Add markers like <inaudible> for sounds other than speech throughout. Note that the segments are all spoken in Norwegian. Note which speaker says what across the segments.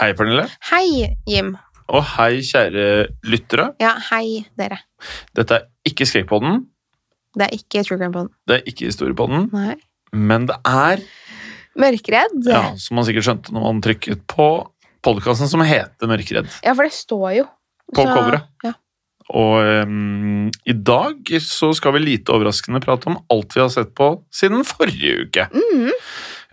Speaker 1: Hei, Pernille.
Speaker 2: Hei, Jim.
Speaker 1: Og hei, kjære lyttere.
Speaker 2: Ja, hei, dere.
Speaker 1: Dette er ikke Skrekkpodden,
Speaker 2: Det er ikke True Crime Pod.
Speaker 1: det er ikke Historiepodden,
Speaker 2: Nei.
Speaker 1: men det er,
Speaker 2: Mørkredd?
Speaker 1: ja, som man sikkert skjønte når man trykket på podkasten som heter Mørkeredd,
Speaker 2: Ja, for det står jo.
Speaker 1: på
Speaker 2: Så-
Speaker 1: coveret.
Speaker 2: Ja.
Speaker 1: Og ehm, i dag så skal vi lite overraskende prate om alt vi har sett på siden forrige uke.
Speaker 2: Mhm.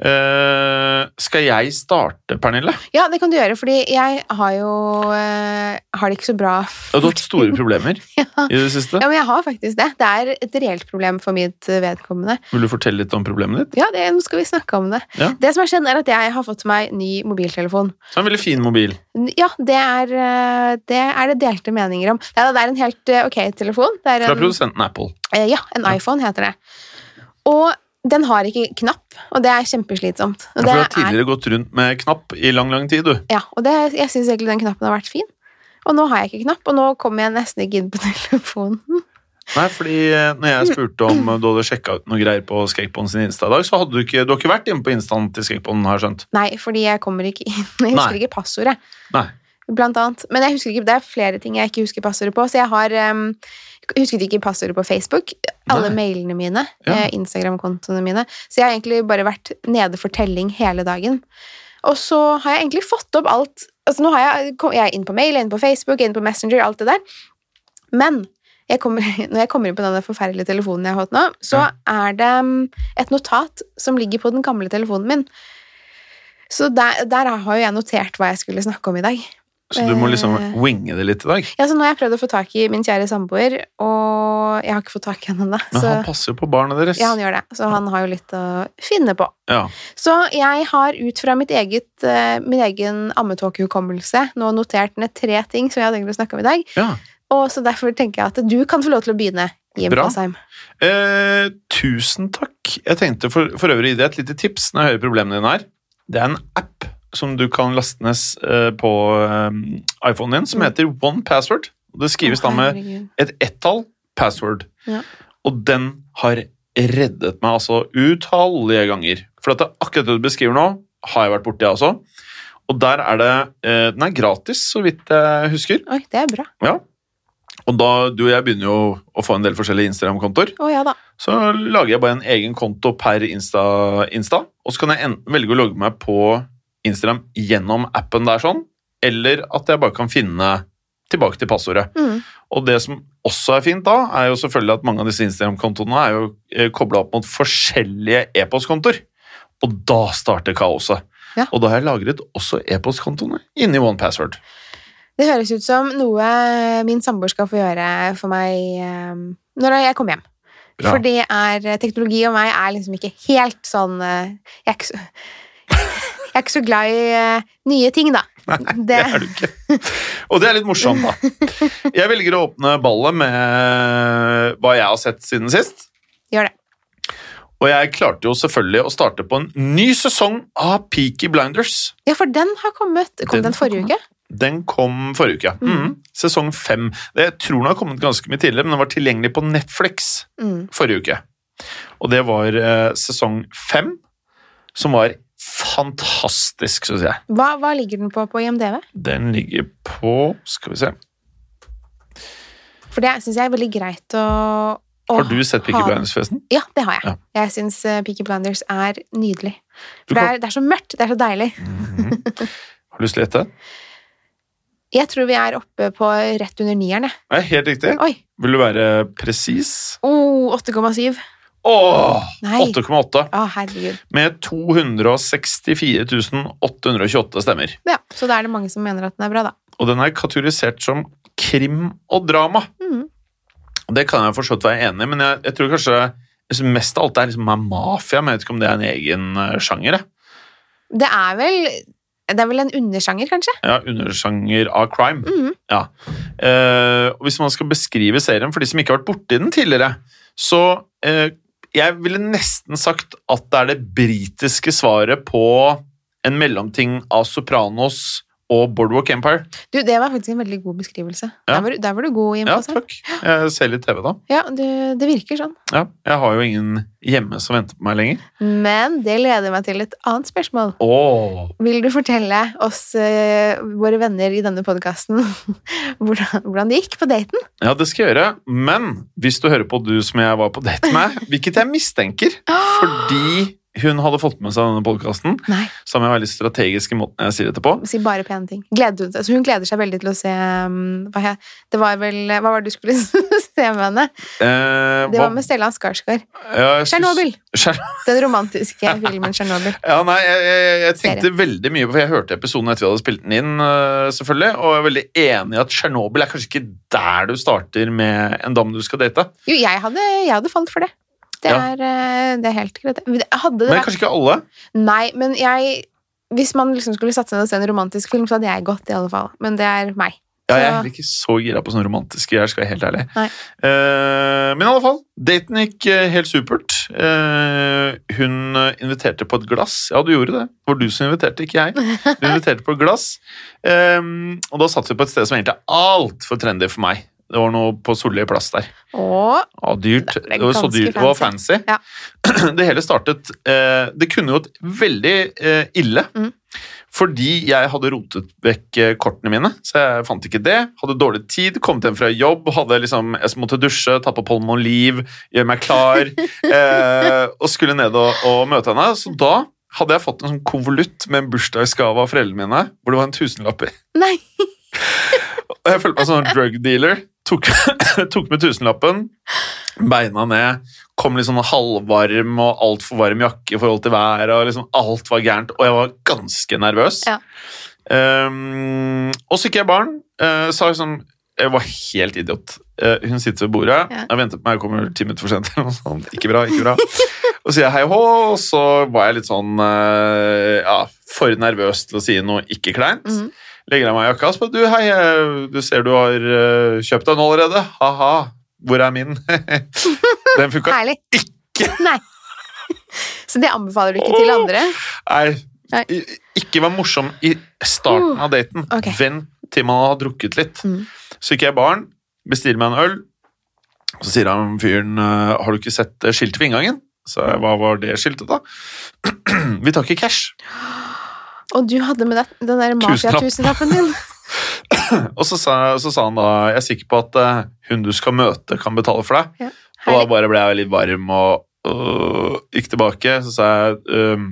Speaker 1: Eh, skal jeg starte, Pernille?
Speaker 2: ja, det kan du gjøre, fordi jeg har jo eh, Har det ikke så bra
Speaker 1: Du har hatt store problemer
Speaker 2: <laughs> Ja.
Speaker 1: i det siste.
Speaker 2: Ja, men jeg har faktisk det. Det er et reelt problem for mitt eh, vedkommende.
Speaker 1: Vil du fortelle litt om problemet ditt?
Speaker 2: Ja, det, nå skal vi snakke om det.
Speaker 1: Ja.
Speaker 2: Det som har skjedd, er at jeg har fått meg ny mobiltelefon.
Speaker 1: Det er en veldig fin mobil.
Speaker 2: N- Ja, det er eh, det, er det delte meninger om. Neida, det er en helt eh, ok telefon. Det er
Speaker 1: Fra
Speaker 2: en,
Speaker 1: produsenten Apple.
Speaker 2: eh, ja, en
Speaker 1: Ja.
Speaker 2: iPhone heter det. Og den har ikke knapp, og det er kjempeslitsomt.
Speaker 1: Ja, for
Speaker 2: Og
Speaker 1: du har
Speaker 2: det er-
Speaker 1: tidligere gått rundt med knapp i lang, lang tid, du.
Speaker 2: Ja, og det, jeg syns egentlig den knappen har vært fin. Og nå har jeg ikke knapp, og nå kommer jeg nesten ikke inn på <laughs> telefonen.
Speaker 1: Nei, fordi eh, når jeg spurte om eh, du hadde sjekka ut noe greier på Skrekkbånd sin Insta i dag, så hadde du ikke Du har ikke vært inne på Instaen til Skrekkbånd, har jeg skjønt.
Speaker 2: Nei, fordi jeg kommer ikke inn. Jeg husker
Speaker 1: Nei.
Speaker 2: ikke passordet.
Speaker 1: Nei.
Speaker 2: Blant annet. Men jeg husker ikke, det er flere ting jeg ikke husker passordet på, så jeg har ehm, em, husket ikke passordet på Facebook. Alle
Speaker 1: Nei.
Speaker 2: mailene mine,
Speaker 1: Ja.
Speaker 2: eh, Instagram-kontoene mine. Så jeg har egentlig bare vært nede for telling hele dagen. Og så har jeg egentlig fått opp alt Altså nå har jeg, kom- jeg er inn på mail, jeg er inn på Facebook, jeg er inn på Messenger, alt det der. Men jeg kommer, <laughs> når jeg kommer inn på denne forferdelige telefonen jeg har hatt nå, så
Speaker 1: Ja.
Speaker 2: er det mm, et notat som ligger på den gamle telefonen min. Så der, der har jo jeg notert hva jeg skulle snakke om i dag.
Speaker 1: Så du må liksom
Speaker 2: Eh.
Speaker 1: winge det litt i dag.
Speaker 2: Ja, så nå har jeg prøvd å få tak i min kjære samboer, og jeg har ikke fått tak i han ennå.
Speaker 1: Men
Speaker 2: så-
Speaker 1: han passer jo på barna deres.
Speaker 2: Ja, han gjør det. Så han har jo litt å finne på.
Speaker 1: Ja.
Speaker 2: Så jeg har ut fra mitt eget, eh, min egen ammetåkehukommelse nå notert ned tre ting som jeg har tenkt å snakke om i dag.
Speaker 1: Ja.
Speaker 2: Og så derfor tenker jeg at du kan få lov til å begynne. Jim
Speaker 1: Bra.
Speaker 2: Fasheim.
Speaker 1: Eh, tusen takk. Jeg tenkte for, for øvrig å gi deg et lite tips når jeg hører problemene dine her. Det er en app som du kan laste ned eh, på eh, iPhonen din, som
Speaker 2: Mm.
Speaker 1: heter One Password. Og det skrives da
Speaker 2: Å,
Speaker 1: med
Speaker 2: herregud.
Speaker 1: et ett-tall, password.
Speaker 2: Ja.
Speaker 1: Og den har reddet meg altså utallige ganger. For at det er akkurat det du beskriver nå, har jeg vært borti, jeg også. Og der er det eh, Den er gratis, så vidt jeg husker.
Speaker 2: Oi, det er bra.
Speaker 1: Ja. Og da du og jeg begynner jo å få en del forskjellige Instagram-kontoer,
Speaker 2: Å ja da.
Speaker 1: så lager jeg bare en egen konto per Insta, Insta og så kan jeg enten velge å logge meg på Instagram gjennom appen der sånn, eller at jeg bare kan finne tilbake til passordet.
Speaker 2: Mm.
Speaker 1: Og det som også er fint da, er jo selvfølgelig at mange av disse Instagram-kontoene er jo kobla opp mot forskjellige e-postkontoer. Og da starter kaoset.
Speaker 2: Ja.
Speaker 1: Og da har jeg lagret også e-postkontoene inni One Password.
Speaker 2: Det høres ut som noe min samboer skal få gjøre for meg eh, når jeg kommer hjem.
Speaker 1: Bra.
Speaker 2: For det er Teknologi og meg er liksom ikke helt sånn eh, Jeg er ikke så, <laughs> jeg er ikke så glad i eh, nye ting, da.
Speaker 1: Det
Speaker 2: Det-
Speaker 1: er du
Speaker 2: <laughs>
Speaker 1: ikke. Og det er litt morsomt, da. Jeg velger å åpne ballet med hva jeg har sett siden sist.
Speaker 2: Gjør det.
Speaker 1: Og jeg klarte jo selvfølgelig å starte på en ny sesong av Peaky Blinders.
Speaker 2: Ja, for den har kommet. Kom
Speaker 1: Den
Speaker 2: den,
Speaker 1: har
Speaker 2: forrige uke?
Speaker 1: Den kom forrige uke. ja.
Speaker 2: Mm.
Speaker 1: Mm. Sesong fem. Det jeg tror den har kommet ganske mye tidligere, men den var tilgjengelig på Netflix
Speaker 2: Mm.
Speaker 1: forrige uke. Og det var eh, sesong fem, som var fantastisk, syns jeg.
Speaker 2: Hva, hva ligger den på på IMDv?
Speaker 1: Den ligger på Skal vi se
Speaker 2: For det syns jeg er veldig greit å, å
Speaker 1: Har du sett Picky
Speaker 2: ha-
Speaker 1: Blinders, forresten?
Speaker 2: Ja, det har jeg.
Speaker 1: Ja.
Speaker 2: Jeg syns Peaky Blinders er nydelig.
Speaker 1: Du
Speaker 2: For det er, det er så mørkt. Det er så deilig.
Speaker 1: Mhm. Har du lyst til å gjette?
Speaker 2: Jeg tror vi er oppe på rett under nieren, jeg.
Speaker 1: Nei, helt riktig.
Speaker 2: Oi!
Speaker 1: Vil du være presis?
Speaker 2: Oh, 8,7.
Speaker 1: Åh!
Speaker 2: Nei.
Speaker 1: 8,8
Speaker 2: Å, herregud.
Speaker 1: med 264 828 stemmer.
Speaker 2: Ja, så da er det mange som mener at den er bra, da.
Speaker 1: Og den er kategorisert som krim og drama.
Speaker 2: Mm.
Speaker 1: Og Det kan jeg forstått være enig i, men jeg, jeg tror kanskje jeg synes mest av alt det er liksom er mafia, men jeg vet ikke om det er en egen eh, sjanger. jeg.
Speaker 2: Det er vel Det er vel en undersjanger, kanskje?
Speaker 1: Ja, Undersjanger av crime.
Speaker 2: Mhm.
Speaker 1: Ja. Eh, og Hvis man skal beskrive serien for de som ikke har vært borti den tidligere, så eh, Jeg ville nesten sagt at det er det britiske svaret på en mellomting av Sopranos og Boardwalk Empire.
Speaker 2: Du, det var faktisk en veldig god beskrivelse.
Speaker 1: Ja.
Speaker 2: Der, var, du- der var du god i
Speaker 1: Ja,
Speaker 2: info.
Speaker 1: takk. Jeg ser litt TV, da.
Speaker 2: Ja, du, det virker sånn.
Speaker 1: Ja, jeg har jo ingen hjemme som venter på meg lenger.
Speaker 2: Men det leder meg til et annet spørsmål.
Speaker 1: Åh.
Speaker 2: Vil du fortelle oss, eh, våre venner i denne podkasten, <laughs> hvordan, hvordan det gikk på daten?
Speaker 1: Ja, det skal jeg gjøre. Men hvis du hører på du som jeg var på date
Speaker 2: <laughs>
Speaker 1: med, hvilket jeg mistenker, fordi hun hadde fått med seg denne podkasten,
Speaker 2: Nei,
Speaker 1: så må jeg være litt strategisk i måten jeg sier dette på.
Speaker 2: si bare pene ting. Gleder hun, seg- altså hun gleder seg veldig til å se um, hva, he- det var vel, hva var det du skulle <laughs> se med henne?
Speaker 1: Eh,
Speaker 2: Det
Speaker 1: hva-
Speaker 2: var med Stellan Skarsgård.
Speaker 1: Ja, jeg synes-
Speaker 2: Tsjernobyl!
Speaker 1: Tsjer-
Speaker 2: Den
Speaker 1: <laughs>
Speaker 2: romantiske filmen Tsjernobyl.
Speaker 1: Ja, nei, jeg, jeg, jeg tenkte veldig mye på For jeg hørte episoden etter vi hadde spilt den inn, eh, selvfølgelig, og jeg er veldig enig i at Tsjernobyl er kanskje ikke der du starter med en dame du skal date.
Speaker 2: Jo, jeg hadde, jeg hadde falt for det. Det
Speaker 1: Ja.
Speaker 2: er, eh, det er helt greit. Hadde det
Speaker 1: Men
Speaker 2: vært
Speaker 1: kanskje ikke alle.
Speaker 2: Nei, men jeg Hvis man liksom skulle satse ned og se en romantisk film, så hadde jeg gått, i alle fall. Men det er
Speaker 1: <laughs>
Speaker 2: meg.
Speaker 1: Ja, jeg er
Speaker 2: Så-
Speaker 1: heller ikke så gira på sånne romantiske greier, skal jeg være helt ærlig.
Speaker 2: Nei.
Speaker 1: Eh, men i alle fall, daten gikk eh, helt supert. Eh, hun eh, inviterte på et glass. Ja, du gjorde det. Det var du som inviterte, ikke jeg. Du inviterte på et glass. Eh, og da satt vi på et sted som egentlig er altfor trendy for meg. Det var noe på Solli plass der.
Speaker 2: Og
Speaker 1: Ja, dyrt.
Speaker 2: Det
Speaker 1: Det,
Speaker 2: er
Speaker 1: var så
Speaker 2: ganske
Speaker 1: dyrt. Det var fancy. <clears throat>
Speaker 2: Ja.
Speaker 1: Det hele startet eh, Det kunne gått veldig eh, ille.
Speaker 2: Mm.
Speaker 1: Fordi jeg hadde rotet vekk eh, kortene mine, så jeg fant ikke det. Hadde dårlig tid, kommet hjem fra jobb, hadde liksom, jeg måtte dusje, ta på Palmolive, gjøre meg
Speaker 2: <laughs>
Speaker 1: klar. eh, og skulle ned og, og møte henne. Så da hadde jeg fått en sånn konvolutt med en bursdagsgave av foreldrene mine, hvor det var en tusenlapp i.
Speaker 2: Nei!
Speaker 1: Og jeg følte meg som en sånn drug dealer. Tok, <laughs> tok med tusenlappen, beina ned, kom litt sånn halvvarm og altfor varm jakke i forhold til været, og liksom alt var gærent, og jeg var ganske nervøs.
Speaker 2: Ja.
Speaker 1: Ehm, og så gikk jeg i baren, eh, sa liksom Jeg var helt idiot. Eh, hun sitter ved bordet,
Speaker 2: Ja.
Speaker 1: jeg venter på meg, jeg kommer ti minutter for sent. <laughs> eller noe sånt. Ikke bra, ikke bra. Og så sier jeg hei hå, og så var jeg litt sånn eh, ja, for nervøs til å si noe ikke kleint.
Speaker 2: Mhm.
Speaker 1: Legger av meg jakka og spør du, hei, eh, du ser du har eh, kjøpt den allerede. Ha-ha, hvor er min? <laughs> den funka
Speaker 2: Herlig. Nei. Så det anbefaler du ikke til andre?
Speaker 1: Nei,
Speaker 2: Nei. Uh,
Speaker 1: i- ikke vær morsom i starten av daten.
Speaker 2: ok.
Speaker 1: Vent til man har drukket litt.
Speaker 2: Mm.
Speaker 1: Så gikk jeg i baren, bestiller meg en øl, og så sier han fyren eh, Har du ikke sett eh, skiltet ved inngangen? Så jeg, hva var det skiltet, da? <clears throat> Vi tar ikke cash.
Speaker 2: Og du hadde med deg den der
Speaker 1: <laughs>
Speaker 2: mafia-tusenlappen din?
Speaker 1: Og så sa, så sa han da Jeg er sikker på at eh, hun du skal møte, kan betale for deg. Og da
Speaker 2: Herlig.
Speaker 1: bare ble jeg litt varm og øh, gikk tilbake. Så sa jeg um,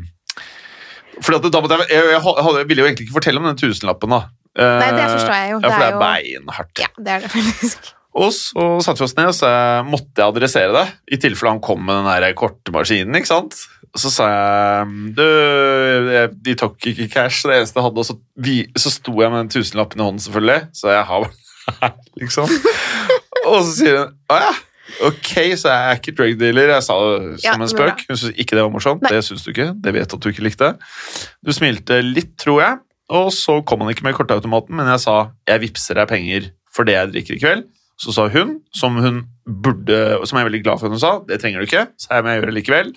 Speaker 1: Fordi at da måtte jeg jeg, jeg, hadde, jeg ville jo egentlig ikke fortelle om den tusenlappen, da. Øh,
Speaker 2: Nei, det forstår jeg jo.
Speaker 1: Ja, for det er
Speaker 2: jo
Speaker 1: beinhardt.
Speaker 2: Ja, det er det faktisk.
Speaker 1: Og så satte vi oss ned, og så måtte jeg adressere det. I tilfelle han kom med den der kortmaskinen, ikke sant. Og så sa jeg du, jeg- de tok ikke cash, det eneste jeg hadde. Og så, vi, så sto jeg med den tusenlappen i hånden, selvfølgelig. Så jeg har <laughs> her, liksom. Og så sier hun å ja, ok, så jeg er ikke drug dealer. Jeg sa det
Speaker 2: Ja,
Speaker 1: som
Speaker 2: men
Speaker 1: en spøk. Hun syntes ikke det var morsomt.
Speaker 2: Nei.
Speaker 1: Det syns du ikke. Det vet at du ikke likte. Du smilte litt, tror jeg. Og så kom han ikke med kortautomaten, men jeg sa jeg vippser deg penger for det jeg drikker i kveld. Så sa hun, som hun burde, og som jeg er veldig glad for at hun sa, det trenger du ikke, så her må jeg gjøre det likevel.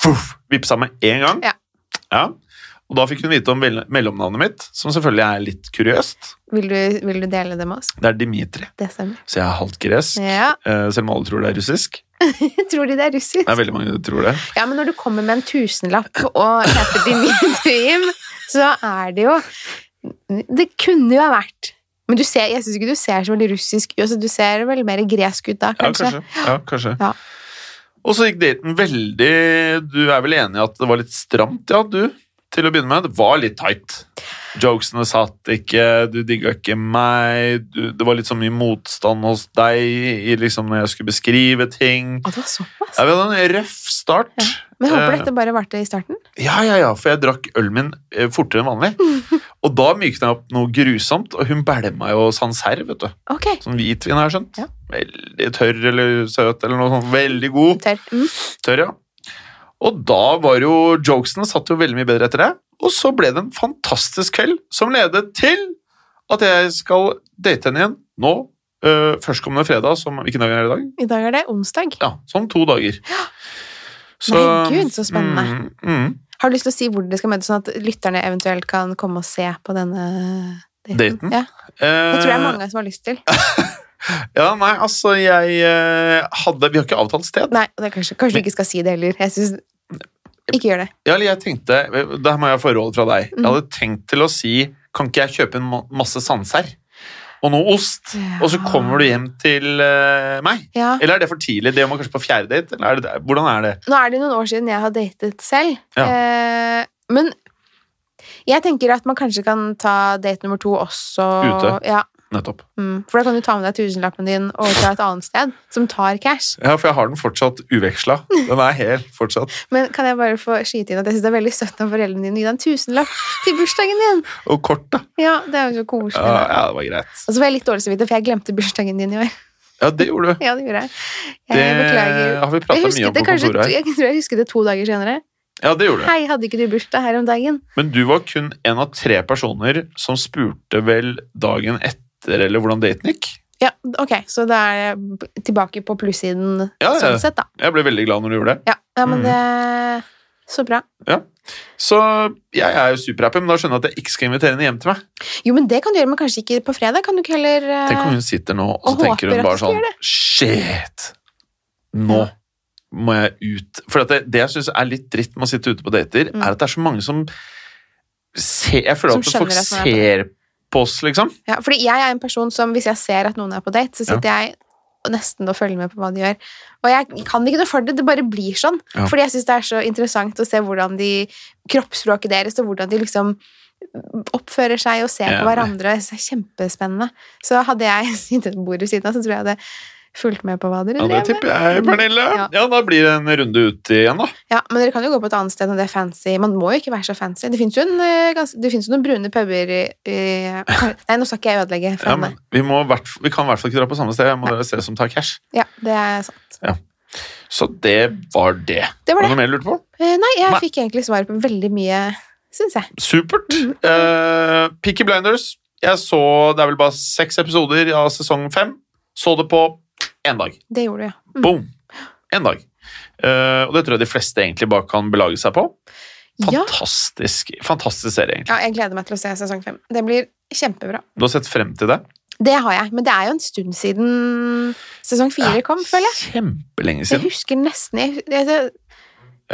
Speaker 1: Fuff, vippsa med én gang.
Speaker 2: Ja.
Speaker 1: Ja. Og da fikk hun vite om vel- mellomnavnet mitt, som selvfølgelig er litt kuriøst.
Speaker 2: Vil du, vil du dele det med oss?
Speaker 1: Det er Dimitri.
Speaker 2: Det stemmer.
Speaker 1: Så jeg er halvt gresk.
Speaker 2: Ja,
Speaker 1: Eh, Selv om alle tror det er russisk.
Speaker 2: Tror de det er russisk?
Speaker 1: Det er veldig mange som tror det.
Speaker 2: Ja, men når du kommer med en tusenlapp og heter <laughs> Dimitrim, så er det jo Det kunne jo ha vært Men du ser, jeg syns ikke du ser så veldig russisk ut. Altså, du ser vel mer gresk ut da,
Speaker 1: Ja,
Speaker 2: kanskje.
Speaker 1: kanskje. Ja, kanskje.
Speaker 2: Ja.
Speaker 1: Og så gikk daten veldig Du er vel enig i at det var litt stramt, ja, du? Til å begynne med. Det var litt tight. Jokesene satt ikke, du digga ikke meg, du, det var litt så mye motstand hos deg i liksom når jeg skulle beskrive ting.
Speaker 2: Å, det var såpass. altså.
Speaker 1: Ja, vi hadde en røff start.
Speaker 2: Men jeg håper
Speaker 1: Eh,
Speaker 2: dette bare varte i starten.
Speaker 1: Ja, ja, ja, for jeg drakk ølen min eh, fortere enn
Speaker 2: <laughs>
Speaker 1: vanlig. Og da mykna jeg opp noe grusomt, og hun bælma jo Sancerre, vet du.
Speaker 2: Ok.
Speaker 1: Sånn hvitvin, har jeg skjønt.
Speaker 2: Ja.
Speaker 1: Veldig tørr eller søt eller noe sånt. Veldig god.
Speaker 2: Tørr. Mm.
Speaker 1: Tørr, ja. Og da var jo jokesene satt jo veldig mye bedre etter det. Og så ble det en fantastisk kveld som ledet til at jeg skal date henne igjen nå. øh, førstkommende fredag, som hvilken dag er det i dag?
Speaker 2: I dag er det onsdag.
Speaker 1: Ja, sånn to dager.
Speaker 2: Nei, gud, så spennende.
Speaker 1: Mm, mm.
Speaker 2: Har du lyst til å si hvor dere skal møtes, sånn at lytterne eventuelt kan komme og se på denne daten?
Speaker 1: Daten? Eh,
Speaker 2: Ja. Det tror jeg mange som har lyst til.
Speaker 1: Ja, nei, altså, jeg eh, hadde Vi har ikke avtalt sted.
Speaker 2: Nei, det er kanskje, kanskje du ikke skal si det heller. Jeg synes, ikke gjør det.
Speaker 1: Ja, eller jeg tenkte Der må jeg få råd fra deg.
Speaker 2: Mhm.
Speaker 1: Jeg hadde tenkt til å si Kan ikke jeg kjøpe en ma- masse sandserr og noe ost,
Speaker 2: Ja.
Speaker 1: og så kommer du hjem til eh, meg?
Speaker 2: Ja.
Speaker 1: Eller er det for tidlig? Det må kanskje på fjerde date? Eller er det, der? hvordan er det?
Speaker 2: Nå er det noen år siden jeg har datet selv.
Speaker 1: Ja.
Speaker 2: Eh, men jeg tenker at man kanskje kan ta date nummer to også.
Speaker 1: Ute.
Speaker 2: Ja,
Speaker 1: Nettopp.
Speaker 2: mm. For da kan du ta med deg tusenlappen din og fra et annet sted, som tar cash.
Speaker 1: Ja, for jeg har den fortsatt uveksla. Den er helt fortsatt.
Speaker 2: Men kan jeg bare få skyte inn at jeg syns det er veldig søtt av foreldrene dine å gi deg en tusenlapp til bursdagen din?
Speaker 1: Og kort, da.
Speaker 2: Ja, det er jo så koselig.
Speaker 1: Ja,
Speaker 2: da.
Speaker 1: Ah, ja, det var greit.
Speaker 2: Og så får jeg litt dårlig samvittighet, for jeg glemte bursdagen din i år.
Speaker 1: Ja, det gjorde du.
Speaker 2: Ja, det gjorde jeg. Jeg
Speaker 1: Det
Speaker 2: beklager.
Speaker 1: har vi
Speaker 2: Jeg
Speaker 1: prata mye
Speaker 2: husket
Speaker 1: om
Speaker 2: det
Speaker 1: på
Speaker 2: kanskje,
Speaker 1: kontoret her.
Speaker 2: jeg tror jeg husket det to dager senere.
Speaker 1: Ja, det gjorde du.
Speaker 2: Hei, hadde ikke du bursdag her om dagen?
Speaker 1: Men du var kun en av tre personer som spurte vel dagen etter eller hvordan daten gikk.
Speaker 2: Ja, ok, så da er jeg tilbake på plussiden
Speaker 1: Ja, ja.
Speaker 2: sånn sett, da.
Speaker 1: Jeg ble veldig glad når du gjorde det.
Speaker 2: Ja, ja men
Speaker 1: Mm.
Speaker 2: det Så bra.
Speaker 1: Så jeg er jo superhappy, men da skjønner jeg at jeg ikke skal invitere henne hjem til meg.
Speaker 2: Jo, men det kan du gjøre, men kanskje ikke på fredag? Kan du ikke heller eh,
Speaker 1: Tenk om hun sitter nå, og så
Speaker 2: Og
Speaker 1: tenker hun
Speaker 2: håper
Speaker 1: bare
Speaker 2: at jeg
Speaker 1: sånn Shit! Nå
Speaker 2: Ja.
Speaker 1: må jeg ut. For at det, det jeg syns er litt dritt med å sitte ute på dater,
Speaker 2: Mm.
Speaker 1: er at det er så mange som ser Jeg føler
Speaker 2: Som
Speaker 1: at folk
Speaker 2: skjønner at man
Speaker 1: ser på oss, liksom.
Speaker 2: ja, Fordi jeg er en person som hvis jeg ser at noen er på date, så
Speaker 1: Ja.
Speaker 2: sitter jeg og nesten og følger med på hva de gjør. Og jeg kan ikke noe for det, det bare blir sånn.
Speaker 1: Ja.
Speaker 2: Fordi jeg syns det er så interessant å se hvordan de kroppsspråket deres, og hvordan de liksom oppfører seg og ser
Speaker 1: Ja,
Speaker 2: på
Speaker 1: det-
Speaker 2: hverandre. Det er kjempespennende. Så hadde jeg <laughs> sittet ved bordet ved siden av, så tror jeg jeg hadde fulgt med på hva dere
Speaker 1: Ja, det
Speaker 2: drev med.
Speaker 1: tipper jeg, Pernille.
Speaker 2: Ja.
Speaker 1: Ja, da blir det en runde ut igjen, da.
Speaker 2: Ja, men dere kan jo gå på et annet sted når det er fancy. Man må jo ikke være så fancy. Det fins jo, en, eh, gans- det finnes jo noen brune puber i,
Speaker 1: <laughs>
Speaker 2: i Nei, nå skal ikke jeg ødelegge. for
Speaker 1: Ja,
Speaker 2: henne.
Speaker 1: men vi, må i hvert, fall- vi kan i hvert fall ikke dra på samme sted. Jeg må dere se som tar cash.
Speaker 2: ja, det er sant.
Speaker 1: Så det var det.
Speaker 2: Det var
Speaker 1: Var det noe
Speaker 2: det.
Speaker 1: mer du lurte på?
Speaker 2: Eh, Nei, jeg
Speaker 1: Nei.
Speaker 2: fikk egentlig svar på veldig mye, syns jeg.
Speaker 1: Supert.
Speaker 2: Mm.
Speaker 1: Eh, Peaky Blinders. Jeg så Det er vel bare seks episoder av sesong fem. Så det på én dag.
Speaker 2: Det gjorde du, ja.
Speaker 1: Boom! Én dag. Eh, og det tror jeg de fleste egentlig bare kan belage seg på.
Speaker 2: Ja.
Speaker 1: Fantastisk, fantastisk serie, egentlig.
Speaker 2: ja. Jeg gleder meg til å se sesong fem. Det blir kjempebra.
Speaker 1: Du har sett frem til det?
Speaker 2: Det har jeg, men det er jo en stund siden sesong fire kom, føler jeg.
Speaker 1: Kjempelenge
Speaker 2: Jeg
Speaker 1: siden.
Speaker 2: husker nesten Jeg, jeg, jeg,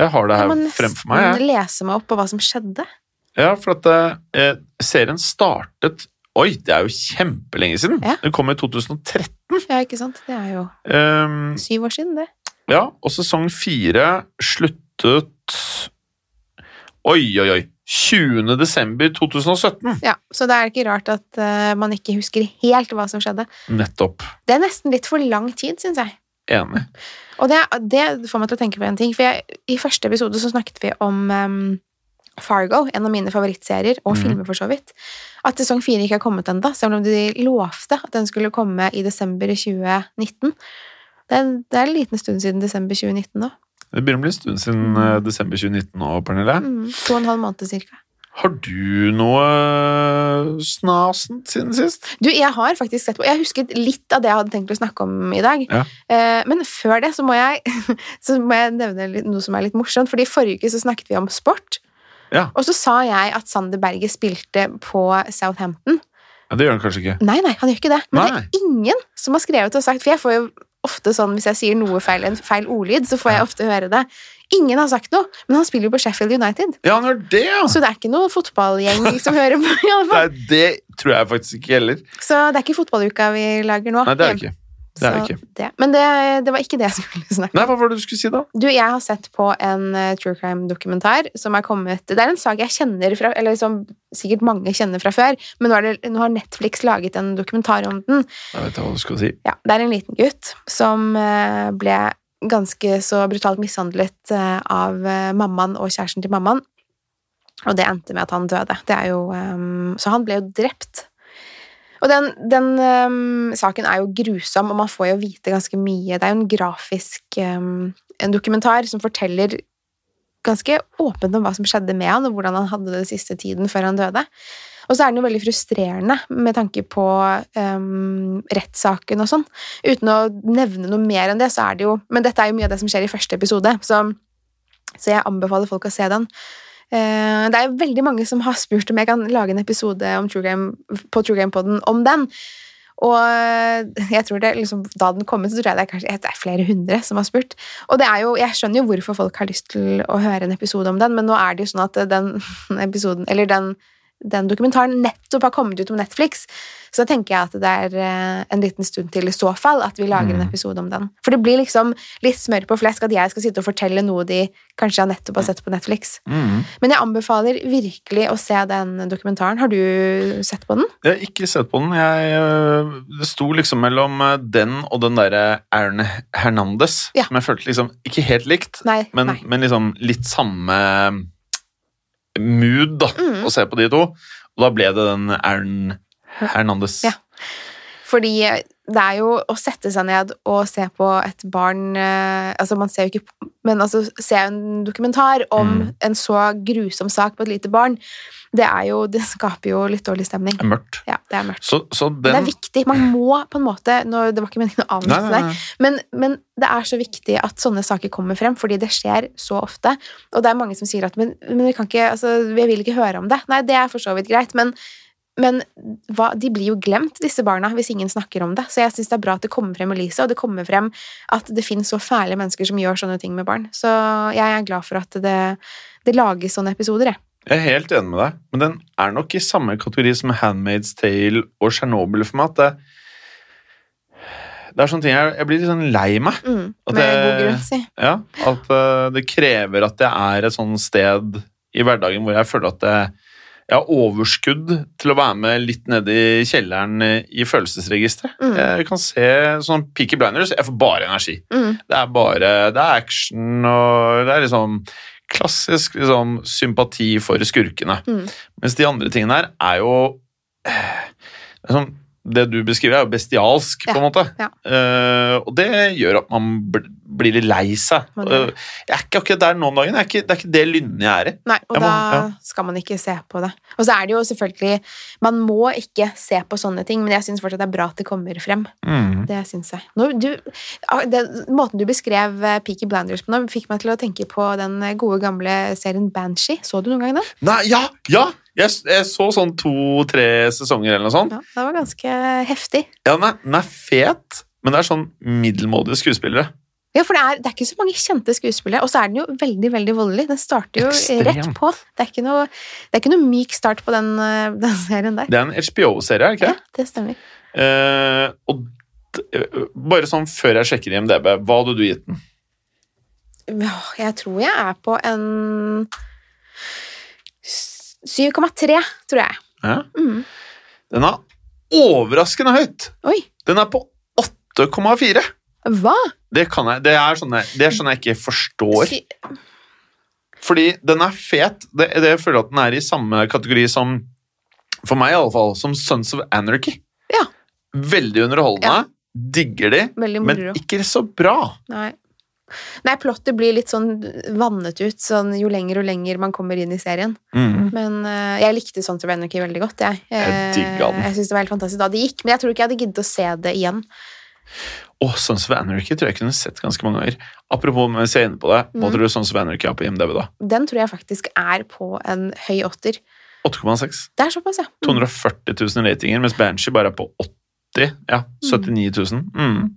Speaker 1: Jeg har det her
Speaker 2: jeg må
Speaker 1: fremfor meg. Jeg.
Speaker 2: nesten lese meg opp på hva som skjedde.
Speaker 1: Ja, for at eh, serien startet Oi, det er jo kjempelenge siden!
Speaker 2: Ja.
Speaker 1: Den kom i 2013.
Speaker 2: Ja, ikke sant? Det er jo
Speaker 1: Um,
Speaker 2: syv år siden, det.
Speaker 1: ja, og sesong fire sluttet Oi, oi, oi! 20. desember 2017.
Speaker 2: Ja, Så det er ikke rart at eh, man ikke husker helt hva som skjedde.
Speaker 1: Nettopp.
Speaker 2: Det er nesten litt for lang tid, syns jeg.
Speaker 1: Enig.
Speaker 2: Og det, det får meg til å tenke på en ting, for jeg, i første episode så snakket vi om em, Fargo, en av mine favorittserier, og
Speaker 1: Mhm.
Speaker 2: filmer for så vidt. At sesong fire ikke har kommet ennå, selv om de lovte at den skulle komme i desember i 2019. Det er, det er en liten stund siden desember 2019 nå.
Speaker 1: Det begynner å bli en stund siden eh, desember 2019 nå, Pernille.
Speaker 2: Mm, to og en halv måned cirka.
Speaker 1: Har du noe snasent siden sist?
Speaker 2: Du, jeg har faktisk sett på Jeg husket litt av det jeg hadde tenkt å snakke om i dag.
Speaker 1: Ja.
Speaker 2: Eh, men før det så må jeg, <laughs> så må jeg nevne litt- noe som er litt morsomt. Fordi forrige uke så snakket vi om sport.
Speaker 1: Ja.
Speaker 2: Og så sa jeg at Sander Berge spilte på Southampton.
Speaker 1: Ja, Det gjør den kanskje ikke.
Speaker 2: Nei, nei, han gjør ikke det. Men
Speaker 1: Nei.
Speaker 2: det er ingen som har skrevet og sagt For jeg får jo ofte sånn hvis jeg sier noe feil, en feil ordlyd, så får jeg
Speaker 1: Ja.
Speaker 2: ofte høre det. Ingen har sagt noe, men han spiller jo på Sheffield United.
Speaker 1: Ja, han gjør det, ja!
Speaker 2: Så det er ikke noe fotballgjeng som hører på. i alle fall.
Speaker 1: Nei, det tror jeg faktisk ikke heller.
Speaker 2: Så det er ikke fotballuka vi lager nå.
Speaker 1: Nei, det er det ikke. Det er det
Speaker 2: Så
Speaker 1: ikke.
Speaker 2: det- Men det, det var ikke det jeg skulle <laughs> snakke om.
Speaker 1: Nei, hva var det du skulle si, da?
Speaker 2: Du, jeg har sett på en eh, true crime-dokumentar som er kommet Det er en sak jeg kjenner fra Eller som sikkert mange kjenner fra før, men nå, er det, nå har Netflix laget en dokumentar om den.
Speaker 1: Jeg vet ikke hva du skulle si.
Speaker 2: Ja, det er en liten gutt som eh, ble ganske så brutalt mishandlet eh, av eh, mammaen og kjæresten til mammaen. Og det endte med at han døde. Det er jo, eh, så han ble jo drept. Og den, den eh, saken er jo grusom, og man får jo vite ganske mye. Det er jo en grafisk eh, en dokumentar som forteller ganske åpent om hva som skjedde med han, og hvordan han hadde det den siste tiden før han døde. Og så er den jo veldig frustrerende med tanke på ehm, rettssaken og sånn. Uten å nevne noe mer enn det, så er det jo Men dette er jo mye av det som skjer i første episode, så, så jeg anbefaler folk å se den. Eh, Det er jo veldig mange som har spurt om jeg kan lage en episode om True Game, på True Game Podden om den. Og eh, jeg tror det, liksom, da den kom ut, så tror jeg det er kanskje det er flere hundre som har spurt. Og det er jo, jeg skjønner jo hvorfor folk har lyst til å høre en episode om den, men nå er det jo sånn at den <laughs> episoden, eller den, den dokumentaren nettopp har kommet ut om Netflix, så da tenker jeg at det er eh, en liten stund til i så fall at vi lager en
Speaker 3: Mm.
Speaker 2: episode om den. For det blir liksom litt smør på flesk at jeg skal sitte og fortelle noe de kanskje har nettopp har sett på Netflix.
Speaker 3: Mm.
Speaker 2: Men jeg anbefaler virkelig å se den dokumentaren. Har du sett på den?
Speaker 1: Jeg har ikke sett på den. Jeg, øh, det sto liksom mellom øh, den og den derre Aaron Hernandez,
Speaker 2: Ja.
Speaker 1: som jeg følte liksom ikke helt likt,
Speaker 2: Nei.
Speaker 1: men,
Speaker 2: nei.
Speaker 1: men liksom litt samme eh, mood, da,
Speaker 2: Mm.
Speaker 1: å se på de to. Og da ble det den Aaron Hernandez.
Speaker 2: Ja. Fordi det er jo å sette seg ned og se på et barn eh, Altså, man ser jo ikke på- Men altså, se en dokumentar om
Speaker 3: Mm.
Speaker 2: en så grusom sak på et lite barn, det er jo Det skaper jo litt dårlig stemning.
Speaker 1: Det er Mørkt.
Speaker 2: Ja, det er mørkt.
Speaker 1: Så, så
Speaker 2: Men
Speaker 1: den
Speaker 2: Det er viktig. Man må på en måte nå, Det var ikke meningen å
Speaker 1: Nei,
Speaker 2: avslutte
Speaker 1: nei,
Speaker 2: der.
Speaker 1: nei.
Speaker 2: Men, men det er så viktig at sånne saker kommer frem, fordi det skjer så ofte. Og det er mange som sier at men, men vi kan ikke, altså, jeg vil ikke høre om det. Nei, det er for så vidt greit, men, men hva, de blir jo glemt, disse barna, hvis ingen snakker om det. Så jeg syns det er bra at det kommer frem i lyset, og det kommer frem at det finnes så fæle mennesker som gjør sånne ting med barn. Så jeg er glad for at det, det lages sånne episoder, jeg.
Speaker 1: Jeg er helt enig med deg, men den er nok i samme kategori som Handmaid's Tale og Tsjernobyl for meg. At det, det er sånne ting jeg, jeg blir litt sånn lei meg.
Speaker 2: Mm,
Speaker 1: Og
Speaker 2: med god
Speaker 1: det-
Speaker 2: grunn, si.
Speaker 1: Ja, At eh, det krever at jeg er et sånn sted i hverdagen hvor jeg føler at jeg, jeg har overskudd til å være med litt nede i kjelleren eh, i følelsesregisteret.
Speaker 2: Mm.
Speaker 1: Jeg kan se sånn Peaky Blinders, jeg får bare energi.
Speaker 2: Mm,
Speaker 1: Det er bare Det er action, og det er liksom klassisk liksom, sympati for skurkene.
Speaker 2: Mm.
Speaker 1: Mens de andre tingene her er jo eh, liksom, Det du beskriver, er jo bestialsk, på en måte.
Speaker 2: ja.
Speaker 1: Eh, og det gjør at man bl blir litt lei seg.
Speaker 2: Man gjør
Speaker 1: Eh, jeg er ikke akkurat der nå om dagen. Jeg er ikke, det er ikke det lynnet jeg er i.
Speaker 2: Nei, og
Speaker 1: Jeg må-
Speaker 2: da
Speaker 1: ja.
Speaker 2: skal man ikke se på det. Og så er det jo selvfølgelig Man må ikke se på sånne ting, men jeg syns fortsatt det er bra at det kommer frem. Det synes jeg. Nå, du, ah, det, måten du beskrev eh, Peaky Blinders på nå, fikk meg til å tenke på den eh, gode, gamle serien Banshee. Så du noen gang den?
Speaker 1: Nei, ja! Ja! Jeg, s- jeg så sånn to-tre sesonger eller noe sånt.
Speaker 2: Ja, den var ganske eh, heftig.
Speaker 1: Ja, den, er, den er fet, men det er sånn middelmådige skuespillere.
Speaker 2: Ja, for det er, det er ikke så mange kjente skuespillere, og så er den jo veldig veldig voldelig. Den starter jo rett
Speaker 1: Ekstremt.
Speaker 2: på. Det er ikke noe, det er ikke noe myk start på den, eh, den serien der.
Speaker 1: Det er en HBO-serie, er det ikke? det?
Speaker 2: Ja, det stemmer.
Speaker 1: Eh, og d- eh, bare sånn før jeg sjekker IMDb, hva hadde du gitt den?
Speaker 2: Åh, Jeg tror jeg er på en 7,3, tror jeg.
Speaker 1: Ja.
Speaker 2: Mm.
Speaker 1: Den er overraskende høyt!
Speaker 2: Oi,
Speaker 1: Den er på 8,4!
Speaker 2: hva?
Speaker 1: Det kan jeg, det er sånn jeg, det er sånn jeg ikke forstår.
Speaker 2: Sy-
Speaker 1: Fordi den er fet. Det, det jeg føler at den er i samme kategori som, for meg i alle fall, som Sons of Anarchy.
Speaker 2: Ja.
Speaker 1: Veldig underholdende.
Speaker 2: Ja.
Speaker 1: Digger de,
Speaker 2: Veldig
Speaker 1: men
Speaker 2: moro.
Speaker 1: ikke så bra.
Speaker 2: Nei. Nei, plottet blir litt sånn vannet ut sånn, jo lenger og lenger man kommer inn i serien. Men eh, jeg likte Sons of Anarchy veldig godt, jeg.
Speaker 1: Jeg digga den.
Speaker 2: Eh, Jeg synes det var helt fantastisk da det gikk, men jeg tror ikke jeg hadde giddet å se det igjen.
Speaker 1: Og Sons of Anarchy tror jeg kunne sett ganske mange ganger. Apropos mens jeg er inne på det, hva
Speaker 2: Mm.
Speaker 1: tror du Sons of Anarchy har på IMDb, da?
Speaker 2: Den tror jeg faktisk er på en høy åtter.
Speaker 1: 8,6.
Speaker 2: Det er såpass, ja. Mm.
Speaker 1: 240 000 ratinger, mens Banshee bare er på 80 Ja, 79 000. Mm.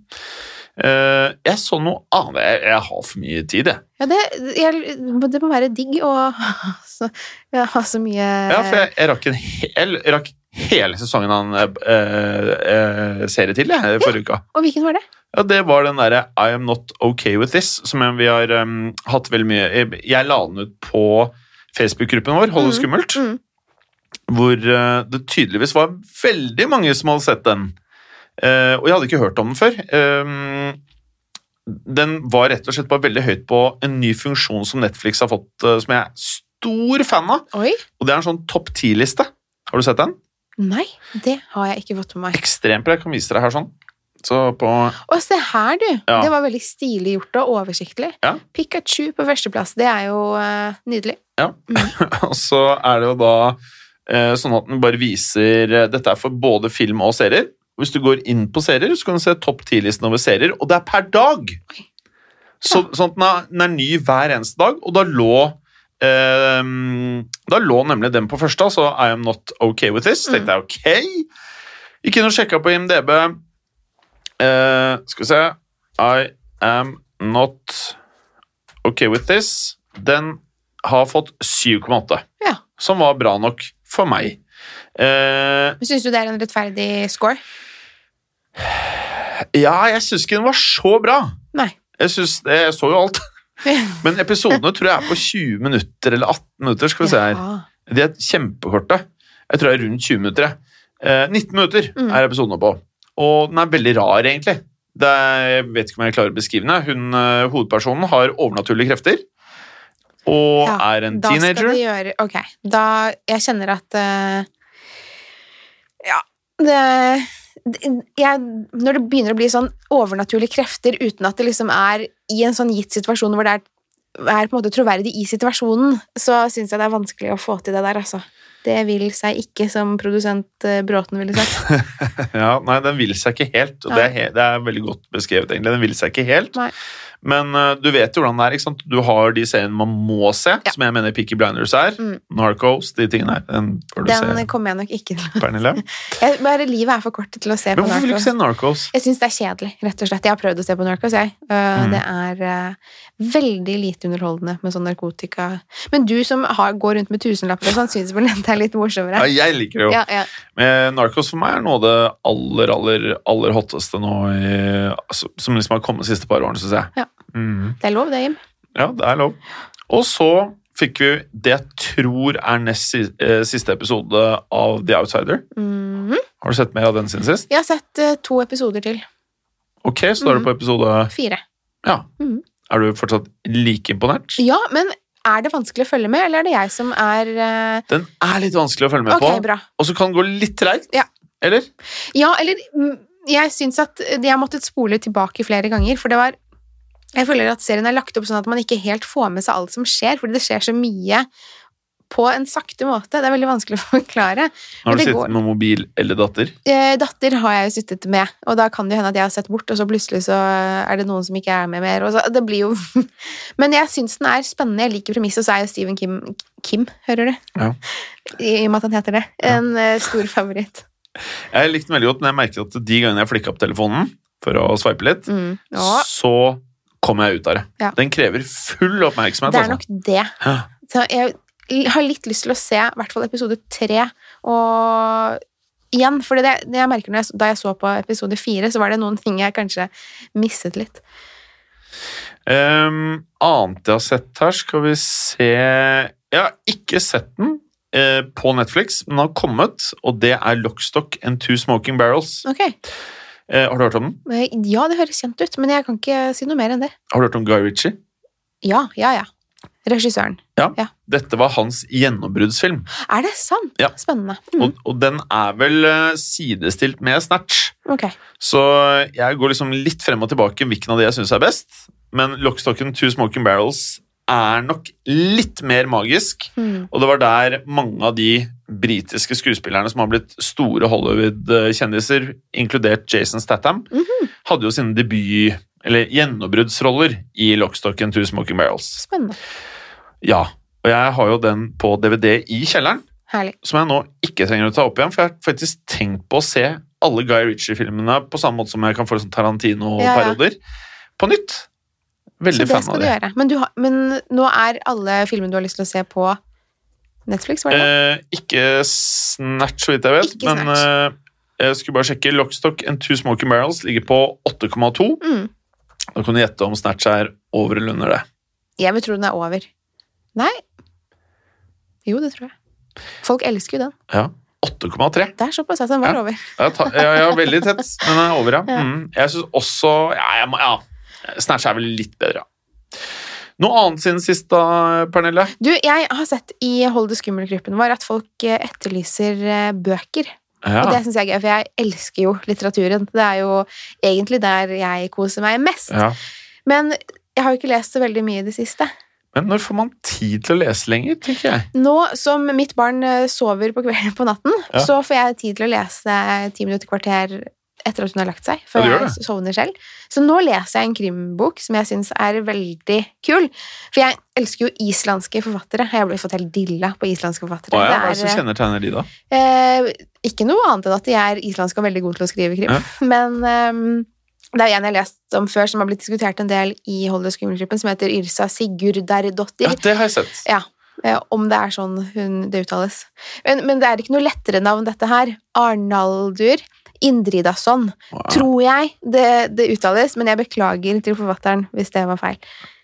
Speaker 1: Eh, jeg så noe annet Jeg, jeg har for mye tid, jeg.
Speaker 2: ja det, jeg, det må være digg å ha så, ja, ha så mye
Speaker 1: Ja, for jeg, jeg rakk en hel jeg rakk hele sesongen av en eh, eh, serie til jeg, forrige uka.
Speaker 2: Og hvilken var det?
Speaker 1: Ja, Det var den derre I am not okay with this, som jeg- vi har eh, hatt veldig mye Jeg, jeg la den ut på Facebook-gruppen vår, Hold det skummelt.
Speaker 2: Mm.
Speaker 1: hvor eh, det tydeligvis var veldig mange som hadde sett den. Eh, og jeg hadde ikke hørt om den før. Eh, den var rett og slett bare veldig høyt på en ny funksjon som Netflix har fått, eh, som jeg er stor fan av.
Speaker 2: Oi!
Speaker 1: Og det er en sånn topp ti-liste. Har du sett den?
Speaker 2: Nei, det har jeg ikke fått med meg.
Speaker 1: Ekstremt bra. Jeg kan vise deg her sånn. Så på
Speaker 2: Å, se her, du!
Speaker 1: Ja.
Speaker 2: Det var veldig stilig gjort og oversiktlig.
Speaker 1: Ja.
Speaker 2: Pikachu på førsteplass, det er jo eh, nydelig.
Speaker 1: <laughs> Og så er det jo da eh, sånn at den bare viser eh, Dette er for både film og serier. Hvis du går inn på serier, så kan du se topp 10-listen over serier, og det er per dag! Så, sånn at den er, den er ny hver eneste dag, og da lå Ehm, da lå nemlig den på første, altså I am not okay with this. Tenkte jeg ok. Gikk inn og sjekka på IMDb. Eh, skal vi se I am not okay with this. Den har fått 7,8,
Speaker 2: Ja.
Speaker 1: som var bra nok for meg. Eh,
Speaker 2: Syns du det er en rettferdig score?
Speaker 1: ja, jeg syns ikke den var så bra.
Speaker 2: Nei.
Speaker 1: Jeg, synes, jeg så jo alt. <laughs> Men episodene tror jeg er på 20 minutter eller 18 minutter. skal vi se her.
Speaker 2: Ja.
Speaker 1: De er kjempekorte. Jeg tror det er rundt 20 minutter. jeg. Eh, 19 minutter
Speaker 2: Mm.
Speaker 1: er episodene på. Og den er veldig rar, egentlig. Det er, jeg vet ikke om jeg klarer å beskrive den. jeg. Hun, eh, hovedpersonen har overnaturlige krefter. Og
Speaker 2: Ja,
Speaker 1: er en
Speaker 2: da
Speaker 1: teenager.
Speaker 2: Skal de gjøre, ok, da Jeg kjenner at eh, Ja, det, det jeg, Når det begynner å bli sånn overnaturlige krefter uten at det liksom er i en sånn gitt situasjon hvor det er, er på en måte troverdig i situasjonen, så syns jeg det er vanskelig å få til det der, altså. Det vil seg ikke, som produsent eh, Bråten ville sagt.
Speaker 1: Ja, nei, den vil seg ikke helt. Og det er, he det er veldig godt beskrevet, egentlig. Den vil seg ikke helt.
Speaker 2: Nei.
Speaker 1: Men eh, du vet jo hvordan det er. ikke sant? Du har de seriene man må se,
Speaker 2: Ja.
Speaker 1: som jeg mener Peaky Blinders er.
Speaker 2: Mm.
Speaker 1: Narcos, de tingene her. Den bør du
Speaker 2: Den
Speaker 1: se,
Speaker 2: kommer jeg nok ikke til.
Speaker 1: Pernille.
Speaker 2: Jeg, bare livet er for kort til å se
Speaker 1: Men
Speaker 2: på
Speaker 1: hvorfor vil du
Speaker 2: Narcos.
Speaker 1: ikke se Narcos?
Speaker 2: Jeg syns det er kjedelig, rett og slett. Jeg har prøvd å se på Narcos, jeg. Øh,
Speaker 1: Mm.
Speaker 2: Det er øh, veldig lite underholdende med sånn narkotika. Men du som har, går rundt med tusenlapper og sånn, syns vel det er litt
Speaker 1: Ja,
Speaker 2: morsommere?
Speaker 1: jeg liker det jo.
Speaker 2: Ja, ja.
Speaker 1: Men eh, Narcos for meg er noe av det aller, aller, aller hotteste nå i, altså, som liksom har kommet de siste par årene, syns jeg.
Speaker 2: Ja.
Speaker 1: Mm.
Speaker 2: Det er lov, det, Jim.
Speaker 1: Ja, det er lov. Og så fikk vi det jeg tror er nest si- eh, siste episode av The Outsider.
Speaker 2: Mhm.
Speaker 1: Har du sett mer av den siden sist?
Speaker 2: Jeg har sett øh, to episoder til.
Speaker 1: Ok, så da er du
Speaker 2: Mm.
Speaker 1: på episode
Speaker 2: Fire.
Speaker 1: Ja.
Speaker 2: Mhm.
Speaker 1: Er du fortsatt like imponert?
Speaker 2: Ja, men er det vanskelig å følge med, eller er det jeg som er øh,
Speaker 1: Den er litt vanskelig å følge med
Speaker 2: Ok,
Speaker 1: på,
Speaker 2: bra.
Speaker 1: og så kan den gå litt treigt.
Speaker 2: Ja.
Speaker 1: Eller?
Speaker 2: Ja, eller mm, jeg syns at jeg måtte spole tilbake flere ganger, for det var Jeg føler at serien er lagt opp sånn at man ikke helt får med seg alt som skjer, fordi det skjer så mye på en sakte måte. Det er veldig vanskelig å <laughs> forklare.
Speaker 1: Nå har
Speaker 2: Men
Speaker 1: du
Speaker 2: det
Speaker 1: sittet
Speaker 2: går.
Speaker 1: med mobil eller datter.
Speaker 2: Eh, Datter har jeg jo sittet med, og da kan det jo hende at jeg har sett bort, og så plutselig så er det noen som ikke er med mer. Og så, <laughs> det blir jo Men jeg syns den er spennende. Jeg liker premisset, og så er jo Stephen Kim, Kim hører du?
Speaker 1: Ja.
Speaker 2: I, I og med at han heter det.
Speaker 1: Ja.
Speaker 2: En eh, stor favoritt.
Speaker 1: Jeg likte den veldig godt, men jeg merket at de gangene jeg flikka opp telefonen for å sveipe litt,
Speaker 2: Mm. Ja.
Speaker 1: så kom jeg ut av det.
Speaker 2: Ja.
Speaker 1: Den krever full oppmerksomhet.
Speaker 2: Det er
Speaker 1: altså.
Speaker 2: nok det.
Speaker 1: Ja.
Speaker 2: Så jeg l- har litt lyst til å se i hvert fall episode tre og igjen. For det, det jeg merker når jeg, s- da jeg så på episode fire, så var det noen ting jeg kanskje misset litt.
Speaker 1: Ehm, annet jeg har sett her, skal vi se Jeg har ikke sett den eh, på Netflix, men den har kommet, og det er Lockstock and Two Smoking Barrels.
Speaker 2: Ok,
Speaker 1: Eh, har du hørt om den?
Speaker 2: Eh, Ja, det høres kjent ut, men jeg kan ikke si noe mer enn det.
Speaker 1: Har du hørt om Guy Ritchie?
Speaker 2: Ja, ja, ja. Regissøren.
Speaker 1: Dette var hans gjennombruddsfilm,
Speaker 2: Er det sant?
Speaker 1: Ja.
Speaker 2: Spennende. Mm,
Speaker 1: og, og den er vel eh, sidestilt med Snatch.
Speaker 2: ok.
Speaker 1: Så jeg går liksom litt frem og tilbake hvilken av de jeg syns er best. Men Lockstock and Two Smoking Barrels er nok litt mer magisk.
Speaker 2: Mm.
Speaker 1: Og det var der mange av de britiske skuespillerne som har blitt store Hollywood-kjendiser, inkludert Jason Statham,
Speaker 2: Mhm.
Speaker 1: hadde jo sine debut- eller gjennombruddsroller i Lockstock and Two Smoking Barrels.
Speaker 2: Spennende.
Speaker 1: Ja, og jeg har jo den på DVD i kjelleren,
Speaker 2: Herlig.
Speaker 1: som jeg nå ikke trenger å ta opp igjen, for jeg har faktisk tenkt på å se alle Guy Ritchie-filmene på samme måte som jeg kan få sånn Tarantino-perioder, på nytt.
Speaker 2: Så
Speaker 1: Veldig
Speaker 2: det
Speaker 1: fan av
Speaker 2: skal du
Speaker 1: det.
Speaker 2: gjøre. Men, du har, men nå er alle filmene du har lyst til å se på Netflix, var det? det?
Speaker 1: Eh, ikke Snatch, så vidt jeg vet.
Speaker 2: Ikke
Speaker 1: men eh, jeg skulle bare sjekke. Lockstock and Two Smoking Barrels ligger på 8,2.
Speaker 2: Mm.
Speaker 1: Da kan du gjette om Snatch er over eller under det.
Speaker 2: Jeg vil tro den er over. Nei. Jo, det tror jeg. Folk elsker jo den.
Speaker 1: Ja. 8,3.
Speaker 2: Det er såpass at den var
Speaker 1: Ja.
Speaker 2: over.
Speaker 1: Ja, ta- ja, ja, veldig tett, men er over, ja. Mm. Jeg syns også ja, jeg må, ja, Snatch er vel litt bedre, ja. Noe annet siden sist, da, Pernille?
Speaker 2: Du, jeg har sett i Hold det skummel-gruppen vår at folk eh, etterlyser eh, bøker. Og
Speaker 1: Ja.
Speaker 2: det syns jeg er gøy, for jeg elsker jo litteraturen. Det er jo egentlig der jeg koser meg mest.
Speaker 1: ja.
Speaker 2: Men jeg har jo ikke lest så veldig mye i det siste.
Speaker 1: Men når får man tid til å lese lenger, tenker jeg.
Speaker 2: Nå som mitt barn eh, sover på kvelden på natten,
Speaker 1: Ja.
Speaker 2: så får jeg tid til å lese ti minutter kvarter etter at hun har lagt seg,
Speaker 1: Ja,
Speaker 2: før
Speaker 1: du gjør
Speaker 2: jeg sovner selv. Så nå leser jeg en krimbok som jeg syns er veldig kul. For jeg elsker jo islandske forfattere. Jeg ble fått helt dilla på islandske forfattere.
Speaker 1: Å ja, hva er det som
Speaker 2: Det er,
Speaker 1: kjennetegner de, da?
Speaker 2: Eh, ikke noe annet enn at de er islandske og veldig gode til å skrive krim.
Speaker 1: Ja.
Speaker 2: <laughs> Men ehm, det er jo en jeg har lest om før, som har blitt diskutert en del i Hold deg skummel-gruppen, som heter Yrsa Sigurdardottir.
Speaker 1: Ja, det har jeg sett.
Speaker 2: Ja, eh, om det er sånn hun, det uttales. Men, men det er ikke noe lettere navn, dette her. Arnaldur Indridason,
Speaker 1: Wow.
Speaker 2: tror jeg det, det uttales, men jeg beklager til forfatteren hvis det var feil.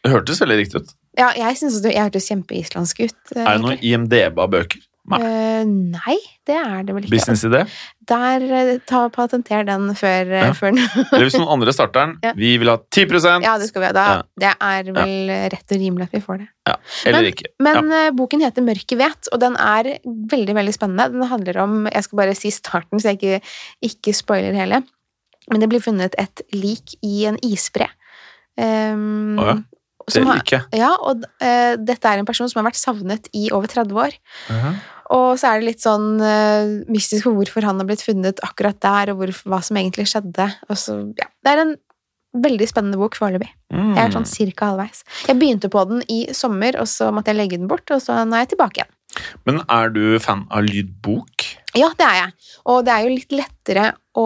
Speaker 1: Det hørtes veldig riktig ut.
Speaker 2: Ja, jeg synes det jeg hørtes kjempeislandsk ut. eh,
Speaker 1: Er det noen IMDb-bøker? Nei.
Speaker 2: Eh, nei, det er <laughs> det vel ikke.
Speaker 1: Businessidé?
Speaker 2: Der, eh, ta Patenter den før, eh,
Speaker 1: Ja.
Speaker 2: før den.
Speaker 1: Eller hvis noen andre starter den?
Speaker 2: Ja.
Speaker 1: Vi vil ha 10
Speaker 2: <laughs> Ja, det skal vi ha. Da, Det er vel eh, rett og rimelig at vi får det.
Speaker 1: Eller
Speaker 2: Men-
Speaker 1: ikke.
Speaker 2: Men eh, boken heter Mørket vet, og den er veldig veldig spennende. Den handler om Jeg skal bare si starten, så jeg ikke, ikke spoiler hele. Men det blir funnet et lik i en isbre. Um,
Speaker 1: Å ja, Det
Speaker 2: som har,
Speaker 1: ikke.
Speaker 2: ja, og eh, dette er en person som har vært savnet i over 30 år. Og så er det litt sånn eh, mystisk for hvorfor han har blitt funnet akkurat der, og hvor, hva som egentlig skjedde. Og så, ja. Det er en veldig spennende bok foreløpig.
Speaker 1: Mm.
Speaker 2: Jeg er sånn cirka halvveis. Jeg begynte på den i sommer, og så måtte jeg legge den bort, og så nå er jeg tilbake igjen.
Speaker 1: Men er du fan av lydbok?
Speaker 2: Ja, det er jeg. Og det er jo litt lettere å,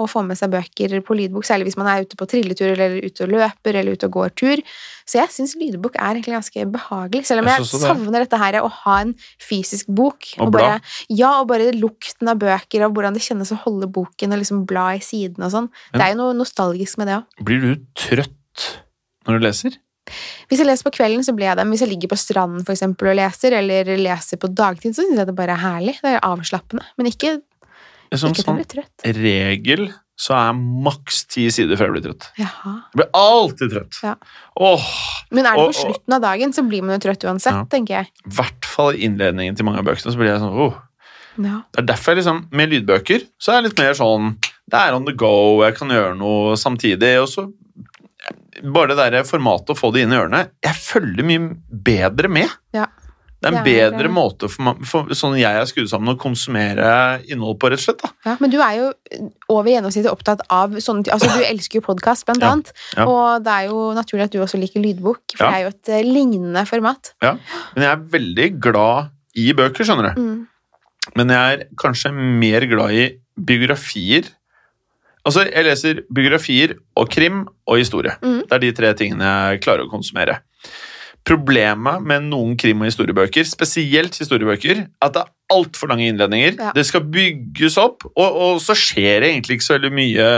Speaker 2: å få med seg bøker på lydbok, særlig hvis man er ute på trilletur, eller ute og løper, eller ute og går tur. Så jeg syns lydbok er egentlig ganske behagelig, selv om
Speaker 1: Jeg
Speaker 2: jeg,
Speaker 1: synes også det.
Speaker 2: savner dette her, å ha en fysisk bok.
Speaker 1: Og
Speaker 2: bare, ja, og bare lukten av bøker, og hvordan det kjennes å holde boken, og liksom bla i siden og sånn.
Speaker 1: Men-
Speaker 2: Det er jo noe nostalgisk med det òg.
Speaker 1: Blir du trøtt når du leser?
Speaker 2: Hvis jeg leser på kvelden, så blir jeg det. Men hvis jeg ligger på stranden for eksempel, og leser, eller leser på dagtid, så syns jeg det bare er herlig. Det er avslappende. Men ikke,
Speaker 1: Som
Speaker 2: ikke til å
Speaker 1: sånn
Speaker 2: bli trøtt.
Speaker 1: regel så er maks ti sider før jeg blir trøtt.
Speaker 2: Jaha.
Speaker 1: Jeg blir alltid trøtt.
Speaker 2: Ja.
Speaker 1: Åh,
Speaker 2: Men er det
Speaker 1: Og- og-
Speaker 2: på slutten av dagen, så blir man jo trøtt uansett,
Speaker 1: Ja.
Speaker 2: tenker jeg.
Speaker 1: I hvert fall i innledningen til mange av bøkene så blir jeg sånn åh.
Speaker 2: Ja.
Speaker 1: Det er derfor jeg liksom, med lydbøker så er jeg litt mer sånn Det er on the go, jeg kan gjøre noe samtidig. Og så bare det der formatet å få det inn i ørene Jeg følger mye bedre med.
Speaker 2: Ja.
Speaker 1: Det er en
Speaker 2: Det er-
Speaker 1: bedre måte for, meg- for sånn jeg er skrudd sammen, å konsumere innhold på, rett og slett. da.
Speaker 2: Ja. Men du er jo over gjennomsnittet opptatt av sånne ting.
Speaker 1: <clears throat>
Speaker 2: Altså, du elsker jo podkast, blant
Speaker 1: Ja.
Speaker 2: annet.
Speaker 1: Ja.
Speaker 2: Og det er jo naturlig at du også liker lydbok, for
Speaker 1: Ja.
Speaker 2: det er jo et eh, lignende format.
Speaker 1: Men jeg er veldig glad i bøker, skjønner du.
Speaker 2: Mm.
Speaker 1: Men jeg er kanskje mer glad i biografier. Altså, jeg leser biografier og krim og historie.
Speaker 2: Mm.
Speaker 1: Det er de tre tingene jeg klarer å konsumere. Problemet med noen krim- og historiebøker, spesielt historiebøker, er at det er altfor lange innledninger.
Speaker 2: Ja.
Speaker 1: Det skal bygges opp, og, og så skjer det egentlig ikke så veldig mye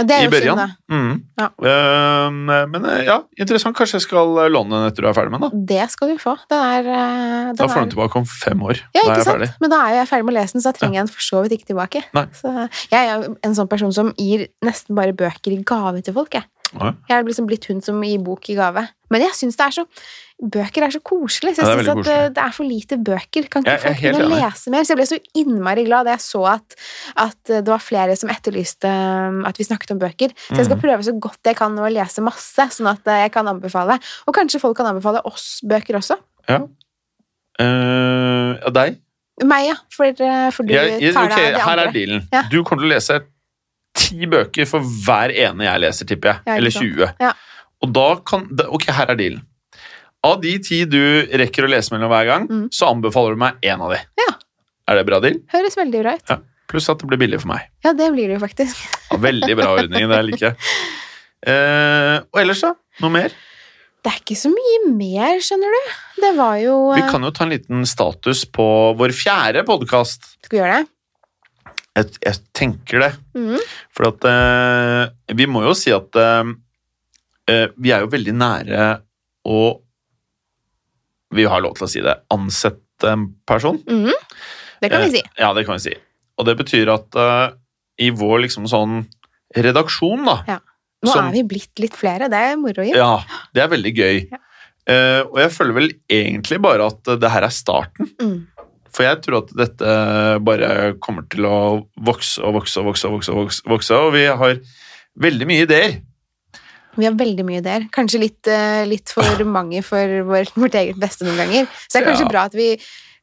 Speaker 2: Og det er
Speaker 1: i
Speaker 2: jo synd, da.
Speaker 1: børjan. Mm.
Speaker 2: Ja.
Speaker 1: Ehm, men eh, ja, interessant. Kanskje jeg skal låne den etter du er ferdig med den. da.
Speaker 2: Det skal du få. Den er, eh, den
Speaker 1: Da får
Speaker 2: er
Speaker 1: du den tilbake om fem år. da er
Speaker 2: Ja, ikke
Speaker 1: jeg
Speaker 2: sant?
Speaker 1: ferdig.
Speaker 2: Men da er jo jeg ferdig med å lese den, så da trenger jeg den for så vidt ikke tilbake.
Speaker 1: Nei.
Speaker 2: Så jeg er jo en sånn person som gir nesten bare bøker i gave til folk. Jeg,
Speaker 1: Ja.
Speaker 2: jeg er liksom blitt hun som gir bok i gave. Men jeg syns det er så Bøker er så koselig. Så
Speaker 1: Ja,
Speaker 2: jeg
Speaker 1: det er
Speaker 2: synes
Speaker 1: veldig
Speaker 2: at eh, det er for lite bøker. Kan ikke
Speaker 1: Jeg- jeg er
Speaker 2: folk
Speaker 1: helt
Speaker 2: begynne å
Speaker 1: enig.
Speaker 2: lese mer? Så jeg ble så innmari glad da jeg så at, at det var flere som etterlyste eh, at vi snakket om bøker. Så jeg skal
Speaker 1: Mhm.
Speaker 2: prøve så godt jeg kan å lese masse, sånn at eh, jeg kan anbefale. Og kanskje folk kan anbefale oss bøker også.
Speaker 1: Eh, ja, deg?
Speaker 2: Meg, ja. For, eh, for du
Speaker 1: Jeg, jeg,
Speaker 2: tar
Speaker 1: ok,
Speaker 2: deg av de
Speaker 1: her
Speaker 2: andre.
Speaker 1: er dealen.
Speaker 2: Ja.
Speaker 1: Du kommer til å lese ti bøker for hver ene jeg leser, tipper jeg.
Speaker 2: Ja, ikke
Speaker 1: Eller
Speaker 2: sant.
Speaker 1: 20.
Speaker 2: Ja.
Speaker 1: Og da kan da- Ok, her er dealen. Av de ti du rekker å lese mellom hver gang,
Speaker 2: Mm.
Speaker 1: så anbefaler du meg én av de.
Speaker 2: Ja.
Speaker 1: Er det bra deal?
Speaker 2: Høres veldig bra ut.
Speaker 1: Pluss at det blir billig for meg.
Speaker 2: Ja, det blir det jo faktisk.
Speaker 1: Ja, Veldig bra ordning. Det liker
Speaker 2: <laughs>
Speaker 1: jeg. Eh, og ellers, da? Noe mer?
Speaker 2: Det er ikke så mye mer, skjønner du. Det var jo
Speaker 1: Vi
Speaker 2: eh,
Speaker 1: kan jo ta en liten status på vår fjerde podkast.
Speaker 2: Skal vi gjøre det?
Speaker 1: Jeg, jeg tenker det.
Speaker 2: Mm.
Speaker 1: For at eh, vi må jo si at eh, eh, vi er jo veldig nære å Vi har lov til å si det. Ansette en person.
Speaker 2: Mm. Det kan
Speaker 1: Eh,
Speaker 2: vi si.
Speaker 1: Ja, det kan vi si. Og det betyr at eh, i vår liksom sånn redaksjon, da
Speaker 2: Ja. Nå
Speaker 1: som-
Speaker 2: er vi blitt litt flere. Det er moro. Ja.
Speaker 1: Ja, det er veldig gøy.
Speaker 2: Ja.
Speaker 1: Eh, og jeg føler vel egentlig bare at eh, det her er starten.
Speaker 2: Mm.
Speaker 1: For jeg tror at dette bare kommer til å vokse og vokse og vokse og vokse. Og, vokse, vokse, og vi har veldig mye ideer.
Speaker 2: Vi har veldig mye ideer. Kanskje litt, eh,
Speaker 1: <laughs>
Speaker 2: litt for mange for vår, vårt eget beste noen ganger. Så det er kanskje
Speaker 1: Ja.
Speaker 2: bra at vi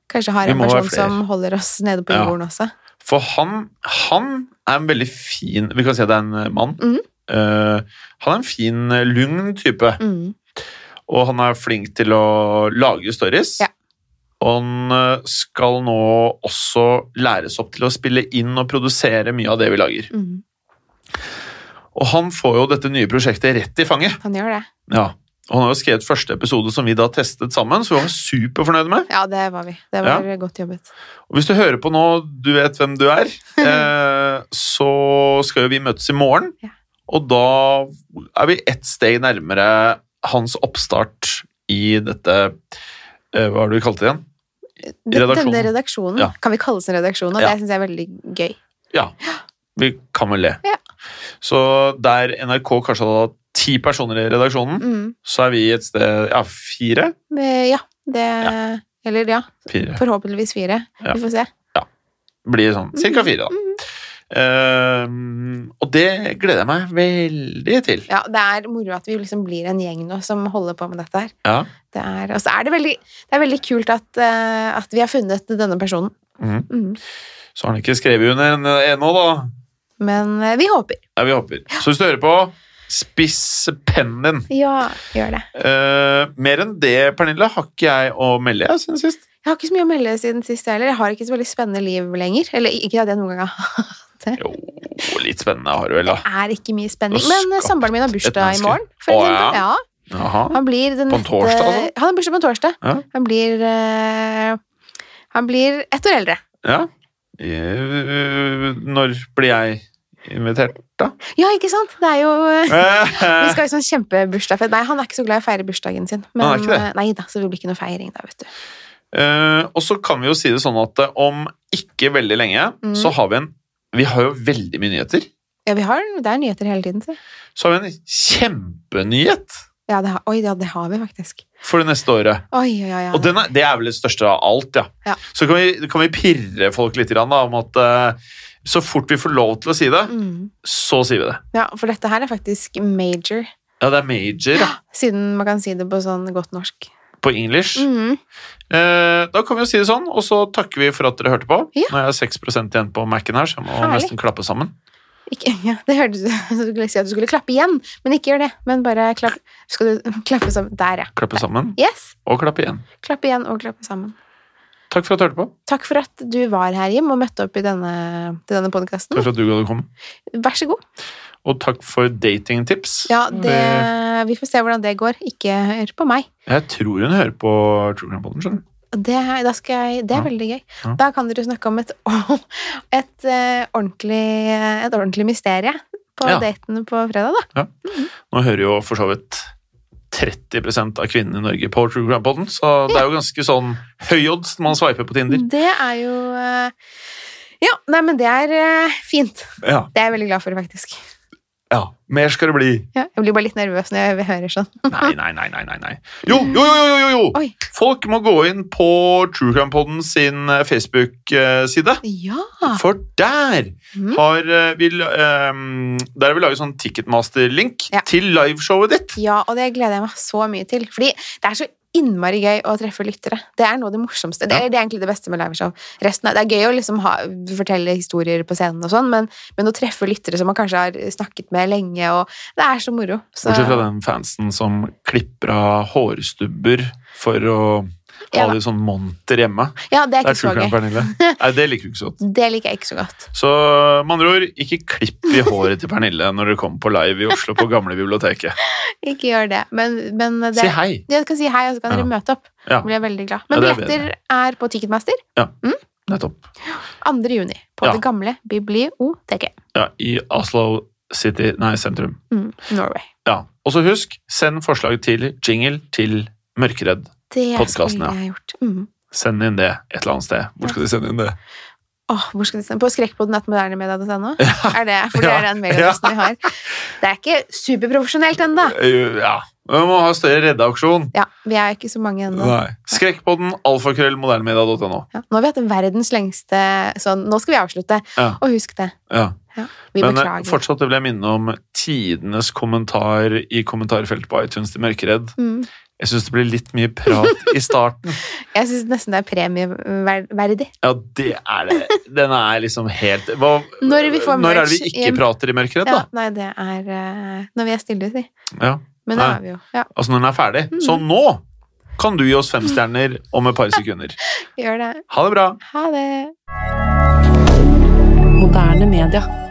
Speaker 2: kanskje har
Speaker 1: Vi
Speaker 2: en
Speaker 1: må være
Speaker 2: person
Speaker 1: flere.
Speaker 2: som holder oss nede på
Speaker 1: Ja.
Speaker 2: jorden også.
Speaker 1: For han, han er en veldig fin Vi kan si at det er en mann.
Speaker 2: Mhm.
Speaker 1: Eh, han er en fin, eh, lugn type.
Speaker 2: Mm.
Speaker 1: Og han er flink til å lage stories.
Speaker 2: Ja.
Speaker 1: Og han eh, skal nå også læres opp til å spille inn og produsere mye av det vi lager.
Speaker 2: Mm.
Speaker 1: Og han får jo dette nye prosjektet rett i fanget.
Speaker 2: Han gjør det.
Speaker 1: Ja. Og han har jo skrevet første episode som vi da testet sammen, så vi var superfornøyde med.
Speaker 2: Ja, det var vi. Det var godt jobbet.
Speaker 1: Og hvis du hører på nå, du vet hvem du
Speaker 2: <laughs>
Speaker 1: er, eh, så skal jo vi møtes i morgen.
Speaker 2: Ja.
Speaker 1: Og da er vi ett steg nærmere hans oppstart i dette eh, Hva var det du kalte det igjen?
Speaker 2: Den-
Speaker 1: Redaksjonen.
Speaker 2: Denne redaksjonen
Speaker 1: Ja.
Speaker 2: kan vi kalles en redaksjon, og
Speaker 1: Ja.
Speaker 2: det syns jeg er veldig gøy.
Speaker 1: Ja. Vi kan vel det.
Speaker 2: Ja.
Speaker 1: Så der NRK kanskje hadde hatt ti personer i redaksjonen,
Speaker 2: Mm.
Speaker 1: så er vi et sted Ja, fire?
Speaker 2: Men Ja, det Eller ja,
Speaker 1: Fire.
Speaker 2: forhåpentligvis fire.
Speaker 1: Ja.
Speaker 2: Vi får se.
Speaker 1: blir sånn cirka fire, da.
Speaker 2: Mhm.
Speaker 1: Ehm, og det gleder jeg meg veldig til.
Speaker 2: Ja, det er moro at vi liksom blir en gjeng nå som holder på med dette her.
Speaker 1: Ja.
Speaker 2: Det er, og så er det veldig, det er veldig kult at, eh, at vi har funnet denne personen.
Speaker 1: Mhm.
Speaker 2: Mm.
Speaker 1: Så har han ikke skrevet under en- ennå, da.
Speaker 2: Men eh, vi håper.
Speaker 1: Nei, vi håper. Så hvis du hører på, spiss pennen din.
Speaker 2: Ja, gjør det.
Speaker 1: Ehm, mer enn det, Pernille, har ikke jeg å melde jeg, siden sist.
Speaker 2: Jeg har ikke så mye å melde siden sist jeg heller. Jeg har ikke så veldig spennende liv lenger. Eller ikke at jeg noen gang har
Speaker 1: Jo, litt spennende har du vel, da.
Speaker 2: er ikke mye spenning.
Speaker 1: Og
Speaker 2: Men eh,
Speaker 1: skapt
Speaker 2: samboeren min har
Speaker 1: et
Speaker 2: bursdag i
Speaker 1: menneske.
Speaker 2: morgen, for
Speaker 1: Å,
Speaker 2: eksempel.
Speaker 1: ja.
Speaker 2: Ja.
Speaker 1: Jaha.
Speaker 2: Han blir den
Speaker 1: På en torsdag,
Speaker 2: nette-
Speaker 1: altså?
Speaker 2: Han har bursdag på en torsdag.
Speaker 1: Ja.
Speaker 2: Han blir eh, Han blir ett år eldre.
Speaker 1: Ja. Eh, Når blir jeg invitert, da?
Speaker 2: Ja, ikke sant? Det er jo eh, Vi
Speaker 1: Eh,
Speaker 2: skal ha en sånn kjempebursdagsfest. Nei, han er ikke så glad i å feire bursdagen sin.
Speaker 1: Han Ah, er ikke det?
Speaker 2: eh, nei da, så det blir ikke noe feiring da, vet du.
Speaker 1: Eh, og så kan vi jo si det sånn at eh, om ikke veldig lenge,
Speaker 2: Mm.
Speaker 1: så har vi en Vi har jo veldig mye nyheter.
Speaker 2: Ja, vi har, det er nyheter hele tiden, si.
Speaker 1: Så har vi en kjempenyhet
Speaker 2: Ja, det har, oi, ja, det har vi faktisk.
Speaker 1: for det neste året.
Speaker 2: Oi, oi, oi. oi.
Speaker 1: Og den er, det er vel det største av alt, ja.
Speaker 2: Ja.
Speaker 1: Så kan vi, kan vi pirre folk litt grann, da, om at eh, så fort vi får lov til å si det,
Speaker 2: Mm.
Speaker 1: så sier vi det.
Speaker 2: Ja, for dette her er faktisk major,
Speaker 1: Ja, det er major ja,
Speaker 2: <gasps> siden man kan si det på sånn godt norsk.
Speaker 1: på English.
Speaker 2: Mm.
Speaker 1: Eh, da kan vi jo si det sånn, og så takker vi for at dere hørte på.
Speaker 2: Ja.
Speaker 1: Nå er jeg 6 igjen på Mac-en her, så jeg må
Speaker 2: Herlig.
Speaker 1: nesten klappe sammen.
Speaker 2: Ikke, <laughs> ja, det hørtes ut som du skulle si at du skulle klappe igjen, men ikke gjør det. Men bare klapp, skal du <laughs> klappe sammen. Der, ja.
Speaker 1: Klappe sammen
Speaker 2: Yes.
Speaker 1: og klappe igjen.
Speaker 2: Klappe igjen og klappe sammen.
Speaker 1: Takk for at du hørte på.
Speaker 2: Takk for at du var her, Jim, og møtte opp i denne, til denne podkasten.
Speaker 1: Takk for at du hadde kommet.
Speaker 2: Vær så god.
Speaker 1: Og takk for datingtips.
Speaker 2: Ja, det, vi får se hvordan det går. Ikke hør på meg.
Speaker 1: Jeg tror hun hører på True Crime Podden, skjønner du.
Speaker 2: Og Det, er- da skal jeg, det er
Speaker 1: Ja.
Speaker 2: veldig gøy.
Speaker 1: Ja.
Speaker 2: Da kan dere snakke om et, <laughs> et, eh, ordentlig, et ordentlig mysterie på
Speaker 1: Ja.
Speaker 2: daten på fredag, da.
Speaker 1: Nå hører jo for så vidt 30 av kvinnene i Norge på True Crime Podden, så det er jo ganske sånn høy odds når man sveiper på Tinder.
Speaker 2: Det er jo eh, Ja, nei, men det er eh, fint.
Speaker 1: Mm. Ja,
Speaker 2: Det er jeg veldig glad for, faktisk.
Speaker 1: ja. Mer skal det bli.
Speaker 2: Ja, jeg blir bare litt nervøs når jeg hører sånn.
Speaker 1: Nei, nei, nei, nei, nei. nei. Jo, jo, jo, jo, jo, jo!
Speaker 2: Oi.
Speaker 1: Folk må gå inn på True Crime Podden sin eh, Facebook-side.
Speaker 2: Ja!
Speaker 1: For der
Speaker 2: Mm.
Speaker 1: har eh, vi eh, Der har vi laget sånn Ticketmaster-link
Speaker 2: Ja.
Speaker 1: til liveshowet ditt.
Speaker 2: Ja, og det gleder jeg meg så mye til. Fordi det er så innmari gøy å treffe lyttere. Det er noe av det morsomste. Det,
Speaker 1: Ja.
Speaker 2: er, det er egentlig det beste med liveshow. Resten av, det er gøy å liksom ha, fortelle historier på scenen og sånn, men, men å treffe lyttere som man kanskje har snakket med lenge, og det er så moro. Så,
Speaker 1: Bortsett fra den fansen som klipper av hårstubber for å ha
Speaker 2: Ja da.
Speaker 1: litt sånn monter hjemme.
Speaker 2: ja, det er
Speaker 1: Det er
Speaker 2: ikke
Speaker 1: true
Speaker 2: så
Speaker 1: crime,
Speaker 2: gøy.
Speaker 1: Pernille.
Speaker 2: <laughs>
Speaker 1: Nei, det liker du ikke så godt.
Speaker 2: Det liker jeg ikke så godt.
Speaker 1: Så med andre ord, ikke klipp i håret til Pernille når dere kommer på live i Oslo på gamle biblioteket.
Speaker 2: Ikke gjør det. Men, men det
Speaker 1: Si hei.
Speaker 2: Ja, dere kan si hei, og så
Speaker 1: Ja.
Speaker 2: kan dere møte opp.
Speaker 1: Ja.
Speaker 2: Da blir jeg veldig glad. Men
Speaker 1: Ja, det er
Speaker 2: billetter er på Ticketmaster
Speaker 1: Nettopp.
Speaker 2: 2. juni på
Speaker 1: Ja.
Speaker 2: det gamle biblioteket.
Speaker 1: Ja, I Oslo City Nei, sentrum.
Speaker 2: Mm. Norway.
Speaker 1: Ja. Og så husk, send forslag til jingle til Mørkeredd.
Speaker 2: Det
Speaker 1: Podcasten,
Speaker 2: skulle
Speaker 1: ja.
Speaker 2: jeg ha gjort. Mm.
Speaker 1: Send inn det et eller annet sted. Hvor skal de sende inn det?
Speaker 2: Åh, hvor skal de sende? På skrekkpodden.modernemedia.no? Er det, for det
Speaker 1: Ja.
Speaker 2: er den mailadressen vi har. Det er ikke superprofesjonelt ennå.
Speaker 1: Eh, Ja. Vi må ha større reddeaksjon.
Speaker 2: Ja, vi er ikke så mange ennå.
Speaker 1: Nei. Skrekkpodden, alfakrøllmodernmedia.no.
Speaker 2: Ja, nå har vi hatt verdens lengste sånn Nå skal vi avslutte.
Speaker 1: Ja.
Speaker 2: Og husk det.
Speaker 1: Ja.
Speaker 2: Vi
Speaker 1: Men eh,
Speaker 2: beklager.
Speaker 1: fortsatt vil jeg minne om tidenes kommentar i kommentarfeltet på iTunes til Mørkeredd.
Speaker 2: Mm.
Speaker 1: Jeg syns det blir litt mye prat i
Speaker 2: <laughs>
Speaker 1: starten.
Speaker 2: Jeg syns nesten det er premieverdig.
Speaker 1: Ja, det er det. Den er liksom helt hva,
Speaker 2: Når vi får
Speaker 1: Når er det
Speaker 2: merch
Speaker 1: vi ikke
Speaker 2: igjen.
Speaker 1: prater i mørkeredd,
Speaker 2: Ja,
Speaker 1: da?
Speaker 2: nei, det er eh, når vi er stille, si.
Speaker 1: Ja.
Speaker 2: Men det
Speaker 1: Nei.
Speaker 2: er vi jo. Ja,
Speaker 1: Altså når den er ferdig.
Speaker 2: Mm.
Speaker 1: Så nå kan du gi oss fem stjerner om et par sekunder.
Speaker 2: gjør det.
Speaker 1: Ha det bra!
Speaker 2: Ha det.
Speaker 3: Moderne media.